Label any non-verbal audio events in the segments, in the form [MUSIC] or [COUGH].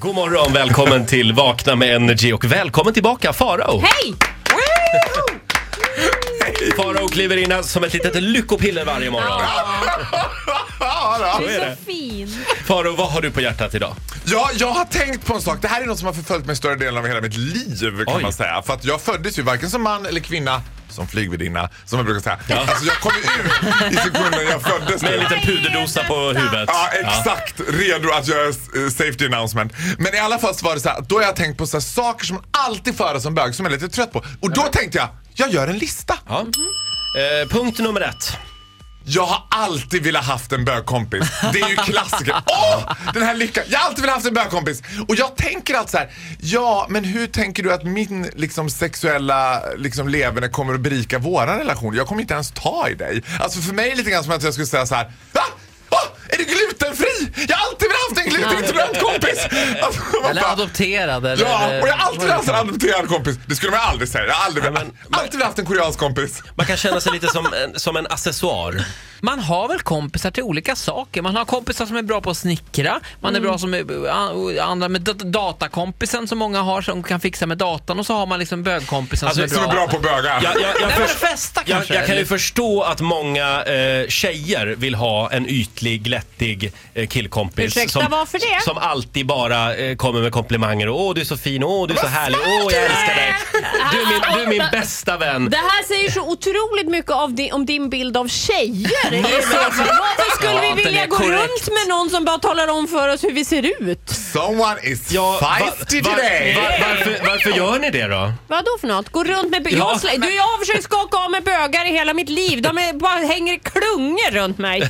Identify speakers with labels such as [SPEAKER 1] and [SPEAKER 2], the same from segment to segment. [SPEAKER 1] God morgon, välkommen till Vakna med Energy och välkommen tillbaka Farao!
[SPEAKER 2] Hej! [LAUGHS]
[SPEAKER 1] Farao kliver in här som ett litet lyckopiller varje morgon.
[SPEAKER 2] Du
[SPEAKER 1] är
[SPEAKER 2] är
[SPEAKER 1] det.
[SPEAKER 2] så fin.
[SPEAKER 1] Farao, vad har du på hjärtat idag?
[SPEAKER 3] Ja, jag har tänkt på en sak. Det här är något som har förföljt mig större delen av hela mitt liv kan
[SPEAKER 1] Oj.
[SPEAKER 3] man säga. För att jag föddes ju varken som man eller kvinna, som flygvärdinna, som jag brukar säga. Alltså jag kom ju ur i sekunden jag föddes.
[SPEAKER 1] Med en
[SPEAKER 3] nu.
[SPEAKER 1] liten puderdosa på huvudet.
[SPEAKER 3] Ja, exakt. Redo att göra eh, safety announcement. Men i alla fall så var det så här, då har jag tänkt på så här, saker som man alltid får höra som bög, som jag är lite trött på. Och då tänkte jag, jag gör en lista.
[SPEAKER 1] Ja. Eh, punkt nummer ett.
[SPEAKER 3] Jag har alltid velat haft en bögkompis. Det är ju klassiker.
[SPEAKER 4] [LAUGHS]
[SPEAKER 3] Åh! Den här lyckan. Jag har alltid velat haft en bögkompis. Och jag tänker alltid så här. Ja, men hur tänker du att min liksom, sexuella liksom, leverne kommer att berika våran relation? Jag kommer inte ens ta i dig. Alltså för mig är det lite grann som att jag skulle säga så här. Va? Va? Är du glutenfri? Jag har alltid velat haft en glutenintolerant kompis. Alltså, man
[SPEAKER 4] Eller
[SPEAKER 3] bara-
[SPEAKER 4] adopterad eller...
[SPEAKER 3] Ja, och jag har alltid
[SPEAKER 4] vad
[SPEAKER 3] velat
[SPEAKER 4] det
[SPEAKER 3] haft en adopterad kompis. Det skulle man aldrig säga. Jag har aldrig, velat- alltid velat haft en koreansk kompis.
[SPEAKER 1] Man kan känna sig lite som en, som en accessoar.
[SPEAKER 4] Man har väl kompisar till olika saker. Man har kompisar som är bra på att snickra, man är bra som är- an- andra med dat- datakompisen som många har som kan fixa med datan och så har man liksom bögkompisen
[SPEAKER 1] Alltså,
[SPEAKER 4] som
[SPEAKER 3] Som
[SPEAKER 4] är
[SPEAKER 3] är
[SPEAKER 4] bra.
[SPEAKER 3] bra på bögar.
[SPEAKER 1] Jag, jag, jag,
[SPEAKER 4] Nej, men
[SPEAKER 1] förs-
[SPEAKER 4] festa
[SPEAKER 1] jag,
[SPEAKER 4] kanske.
[SPEAKER 1] jag kan ju
[SPEAKER 4] eller-
[SPEAKER 1] förstå att många eh, tjejer vill ha en ytlig, glättig eh, killkompis.
[SPEAKER 2] Ursäkta, varför det?
[SPEAKER 1] Som alltid bara eh, kommer med komplimanger. och, Åh, du är så fin. Åh, du är så härlig. Åh, jag älskar dig. Du är min, du är min bästa vän.
[SPEAKER 2] Det här säger så otroligt mycket av di- om din bild av tjejer. i så
[SPEAKER 3] alltså,
[SPEAKER 2] fall. Varför skulle
[SPEAKER 4] Ja,
[SPEAKER 2] vi
[SPEAKER 4] den är
[SPEAKER 2] vilja gå
[SPEAKER 4] korrekt.
[SPEAKER 2] runt med någon som bara talar om för oss hur vi ser ut?
[SPEAKER 3] Someone is
[SPEAKER 1] Ja, va-
[SPEAKER 3] feisty
[SPEAKER 1] va-
[SPEAKER 3] today!
[SPEAKER 1] va- varför, varför gör ni det då?
[SPEAKER 2] Vad då för något? Gå runt med... bö-
[SPEAKER 1] Ja,
[SPEAKER 2] jag, slä- du, jag har försökt skaka av mig bögar i hela mitt liv. De är, bara hänger i klungor runt mig.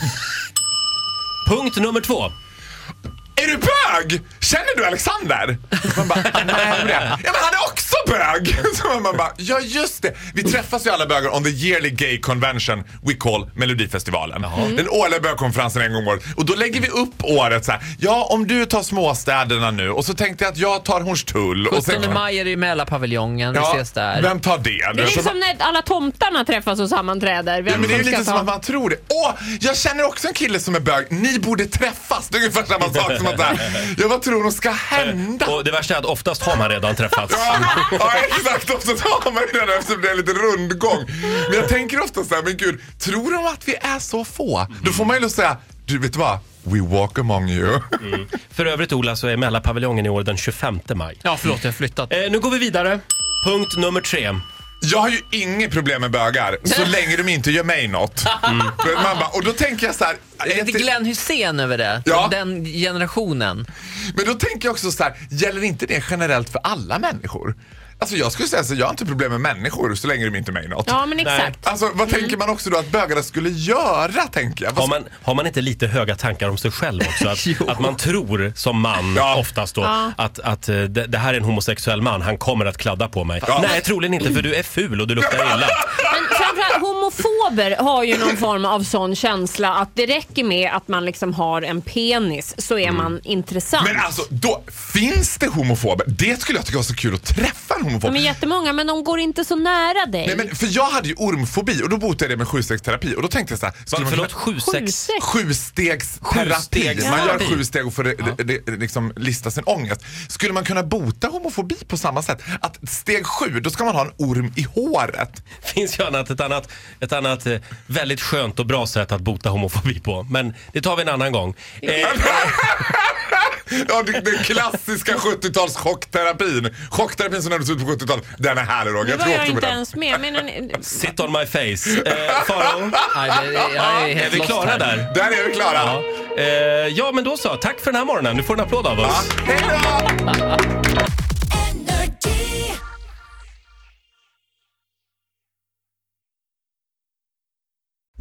[SPEAKER 1] Punkt nummer två.
[SPEAKER 3] Är du bög? Känner du Alexander? Man bara, nej hur är det? Ja men han är också bög! [LAUGHS] Så man bara, ja just det. Vi träffas ju alla bögar on the yearly gay convention we call Melodifestivalen. Mm. Den årliga bögkonferensen en gång om året. Och då lägger vi upp året så här. ja om du tar småstäderna nu och så tänkte jag att jag tar Hornstull. och sen-
[SPEAKER 4] 17 maj är det ju Mälarpaviljongen, vi ses där.
[SPEAKER 3] Vem tar det?
[SPEAKER 2] Det är
[SPEAKER 3] Du vet, så
[SPEAKER 2] liksom när alla tomtarna träffas och sammanträder. Vem
[SPEAKER 3] Ja, men det är ju
[SPEAKER 2] som ska
[SPEAKER 3] lite som
[SPEAKER 2] ta-
[SPEAKER 3] att man tror det. Åh, jag känner också en kille som är bög. Ni borde träffas. Det är ungefär samma sak som att så här, jag vad tror hon ska hända?
[SPEAKER 1] Och det värsta är att oftast har man redan träffats.
[SPEAKER 3] Mm. Ja, ja exakt. Ofta tar man ju den eftersom det är lite rundgång. Men jag tänker ofta så här, men gud, tror de att vi är så få? Då får man ju lust att säga, du vet vad? We walk among you.
[SPEAKER 1] För övrigt Ola så är Mälarpaviljongen i år den 25 maj.
[SPEAKER 4] Ja, förlåt jag har flyttat.
[SPEAKER 1] Eh, nu går vi vidare. Punkt nummer tre.
[SPEAKER 3] Jag har ju inget problem med bögar så länge de inte gör mig något. Men Man bara, och då tänker jag så här.
[SPEAKER 4] Mm. Det är lite Glenn Hussein över det,
[SPEAKER 3] Ja.
[SPEAKER 4] den generationen.
[SPEAKER 3] Men då tänker jag också så här, gäller inte det generellt för alla människor? Alltså jag skulle säga så jag har inte problem med människor så länge de inte är med i något.
[SPEAKER 2] Ja, men Mm. exakt.
[SPEAKER 3] Alltså vad tänker man också då att bögarna skulle göra tänker jag? Vad
[SPEAKER 1] Har man, har man inte lite höga tankar om sig själv också?
[SPEAKER 3] [LAUGHS]
[SPEAKER 1] Att,
[SPEAKER 4] Jo.
[SPEAKER 1] att man tror som man
[SPEAKER 3] Ja.
[SPEAKER 1] oftast då
[SPEAKER 2] Ja.
[SPEAKER 1] att, att eh, det, det här är en homosexuell man, han kommer att kladda på mig.
[SPEAKER 3] Ja.
[SPEAKER 1] Nej, troligen inte för du är ful och du luktar illa.
[SPEAKER 2] Men framförallt homofober har ju någon form av sån känsla att det räcker med att man liksom har en penis så är man intressant.
[SPEAKER 3] Mm. Men alltså, då finns det homofober? Det skulle jag tycka var så kul att träffa en homofob.
[SPEAKER 2] De är jättemånga men de går inte så nära dig.
[SPEAKER 3] Nej, men, för jag hade ju ormfobi och då botade jag det med sjustegsterapi och då tänkte jag så här,
[SPEAKER 1] Va,
[SPEAKER 3] skulle man
[SPEAKER 1] Förlåt,
[SPEAKER 3] kunna-
[SPEAKER 1] sju, sex?
[SPEAKER 2] Sjusex.
[SPEAKER 3] Sjustegsterapi.
[SPEAKER 1] Sjustegsterapi.
[SPEAKER 3] Man gör sju steg och får det- det- det- liksom lista sin ångest. Skulle man kunna bota homofobi på samma sätt? Att steg sju, då ska man ha en orm i håret.
[SPEAKER 1] finns ju annat, ett annat, ett annat eh, väldigt skönt och bra sätt att bota homofobi på. Men det tar vi en annan gång. Eh,
[SPEAKER 3] Ja, det- den
[SPEAKER 2] [LAUGHS]
[SPEAKER 3] klassiska 70-tals chockterapin. Chockterapin som nämndes ut på 70-talet. Den är härlig Roger.
[SPEAKER 2] Nu
[SPEAKER 3] Jag
[SPEAKER 2] var
[SPEAKER 3] tror
[SPEAKER 2] jag
[SPEAKER 3] också på
[SPEAKER 2] inte
[SPEAKER 3] den.
[SPEAKER 2] ens med. Men, men,
[SPEAKER 1] sit on my face. Eh, Farao,
[SPEAKER 4] Aj, det- jag är
[SPEAKER 1] är
[SPEAKER 4] helt
[SPEAKER 1] vi
[SPEAKER 4] lost
[SPEAKER 1] klara
[SPEAKER 4] här.
[SPEAKER 1] där?
[SPEAKER 3] Där är vi klara.
[SPEAKER 1] Ja. Eh, ja, men då så. Tack för den här morgonen. Du får en applåd av oss.
[SPEAKER 3] Hej då!